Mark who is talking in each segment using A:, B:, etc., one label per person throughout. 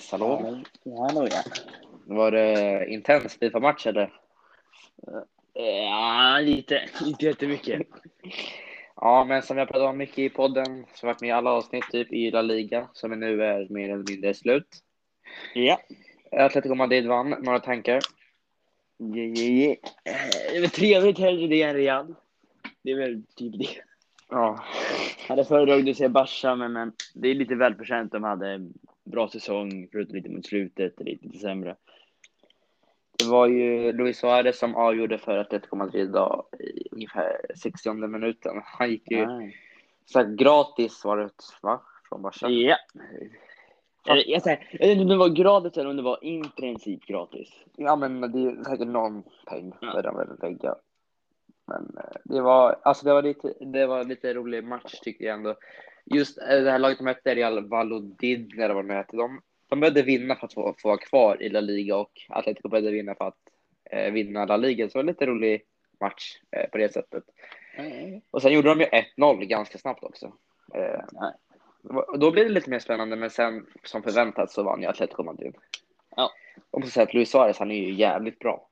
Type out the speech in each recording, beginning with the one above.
A: salong.
B: Ja, hallå ja.
A: Var det intens Fifa-match eller?
B: Ja, lite. Inte jättemycket.
A: Ja, men som jag pratade om mycket i podden, som varit med i alla avsnitt typ i La Liga, som nu är mer eller mindre slut.
B: Ja.
A: Atletico Madrid vann. Några tankar?
B: Ja, ja, ja. Eh, Det var trevligt hellre det än Real. Det är väl typ det.
A: Ja.
B: Jag hade föredragit att se Barca, men, men det är lite välförtjänt. De hade en bra säsong, förutom lite mot slutet, lite, lite sämre.
A: Det var ju Luis Suarez som avgjorde för Atletico Madrid idag i ungefär 60 minuten. Han gick ju
B: Nej.
A: så här, gratis var det, va? Från Barca.
B: Ja. Eller, Jag, säger, jag vet inte om det var gratis eller om det var i princip gratis.
A: Ja, men det är säkert någon peng
B: Ja.
A: för de vill lägga. Men eh, det var, alltså det var lite, det var lite rolig match tyckte jag ändå. Just eh, det här laget de mötte, Real Valladolid, eller vad de hette, de, de behövde vinna för att få, få vara kvar i La Liga och Atletico behövde vinna för att eh, vinna La Liga. Så det var lite rolig match eh, på det sättet. Och sen gjorde de ju 1-0 ganska snabbt också. Eh,
B: Nej.
A: det var- och då blev det lite mer spännande, men sen som förväntat så vann ju Atletico Madrid.
B: Ja.
A: Och så säga att Luis Suarez, han är ju jävligt bra.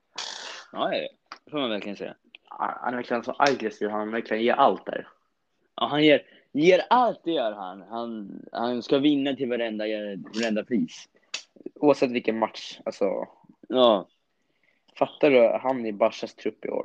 B: Ja, det är det. Det får man verkligen säga.
A: Han han är verkligen så aggressiv, han verkligen ger allt där.
B: Ja, han ger, ger allt, det gör han. Han, han ska vinna till varenda, varenda pris.
A: Oavsett vilken match, alltså.
B: Ja.
A: Fattar du, han i Barsas trupp i år.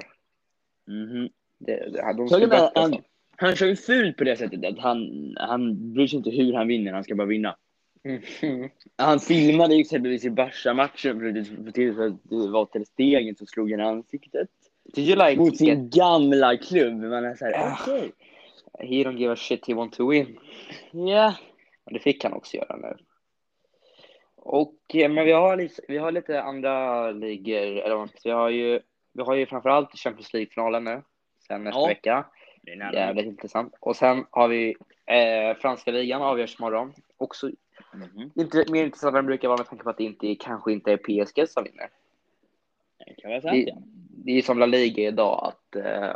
B: Mhm.
A: Det, det, de
B: Frågan
A: skulle
B: är,
A: bättre
B: han-
A: alltså.
B: Han kör ju fult på det sättet att han, han bryr sig inte hur han vinner, han ska bara vinna.
A: Mhm.
B: Han filmade ju exempelvis i Barca-matchen för att få till så att det var till stegen som slog en i ansiktet.
A: Did you like
B: Mot
A: it?
B: sin gamla klubb. Man är såhär,
A: Ja.
B: okej.
A: He don't give a shit, he want to win.
B: Ja.
A: Och det fick han också göra nu. Och, eh, men vi har, lite, vi har lite andra ligor. Eller, vad man ska säga. vi har ju, vi har ju framförallt Champions League-finalen nu. Sen nästa
B: Ja.
A: vecka.
B: Det är nära.
A: Jävligt intressant. Och sen har vi eh, franska ligan avgörs imorgon. Också
B: Mhm.
A: inte, mer intressant än den brukar vara med tanke på att det inte, kanske inte är PSG som vinner.
B: Det kan vara sant,
A: Det,
B: ja.
A: det är ju som La Liga idag att eh,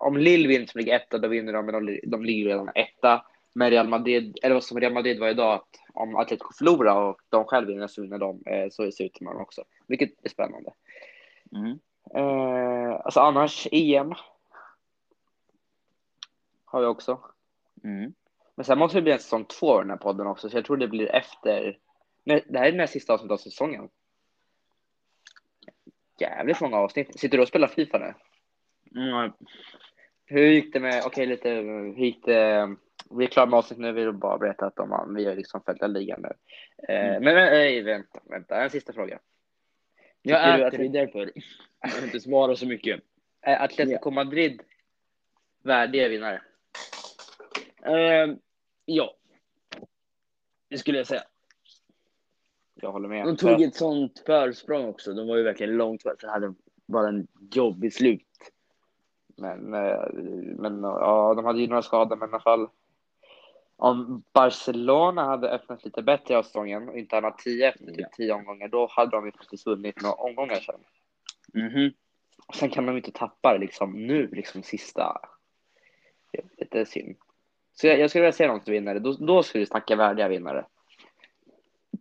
A: om Lille vinner som ligger etta, då vinner de, men de, de ligger redan etta. Men Real Madrid, eller vad som Real Madrid var idag, att om Atletico förlorar och de själva vinner så vinner de, eh, så ser det ut imorgon också. Vilket är spännande.
B: Mhm.
A: Eh, alltså annars, EM. Har vi också.
B: Mm.
A: Men sen måste det bli en säsong två av den här podden också, så jag tror det blir efter... Nej, det här är näst sista avsnittet av säsongen. Jävligt många avsnitt. Sitter du och spelar Fifa nu?
B: Mm.
A: Hur gick det med... Okej, lite... Hur gick det, vi är klara med avsnitt nu, vi vill bara berätta att de, vi har liksom följt den ligan nu. Eh,
B: Mm.
A: Men nej, vänta, vänta, en sista fråga.
B: Jag
A: Tycker du
B: äter
A: att-
B: det därför. Jag har inte svarat så mycket.
A: Är Atletico Madrid värdiga vinnare?
B: Ehm, ja. Det skulle jag säga.
A: Jag håller med.
B: De
A: För att-
B: tog ett sånt försprång också. De var ju verkligen långt före. så hade bara en jobbig slut.
A: Men, eh, men ja, de hade ju några skador, men i alla fall. Om Barcelona hade öppnat lite bättre av säsongen och inte hamnat 10 efter typ
B: Ja.
A: 10 omgångar, då hade de ju faktiskt vunnit några omgångar sen.
B: Mhm.
A: Och sen kan de ju inte tappa det liksom nu, liksom sista. Det är lite synd. Så jag, jag skulle vilja se dem som vinnare. Då, då skulle vi snacka värdiga vinnare.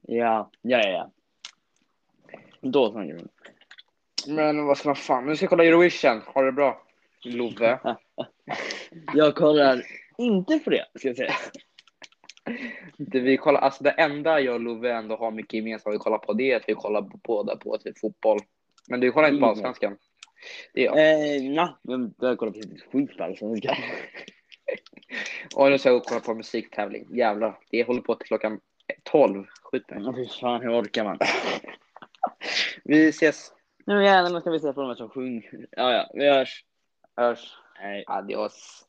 B: Ja, ja, ja, ja. Då snackar vi.
A: Men vad ska man fan, nu ska jag kolla Eurovision. Ha det bra, Love.
B: Jag kollar inte på det, ska jag säga.
A: Det, vi kollar, alltså det enda jag och Love ändå har mycket gemensamt vi kollar på det är att vi kollar på båda på typ fotboll. Men du kollar inte på
B: Mm.
A: Allsvenskan? Det gör jag.
B: Eh, na, jag jag kollar precis ett skit på Allsvenskan.
A: Och nu ska jag gå och kolla på musiktävling. Jävlar, det håller på till klockan 12. Skjut mig.
B: Åh, Fy fan, hur orkar man?
A: Vi ses.
B: Nu jävlar, nu ska vi se på de här som sjunger. Ja, ja, vi hörs.
A: Hörs.
B: Nej.
A: Adios.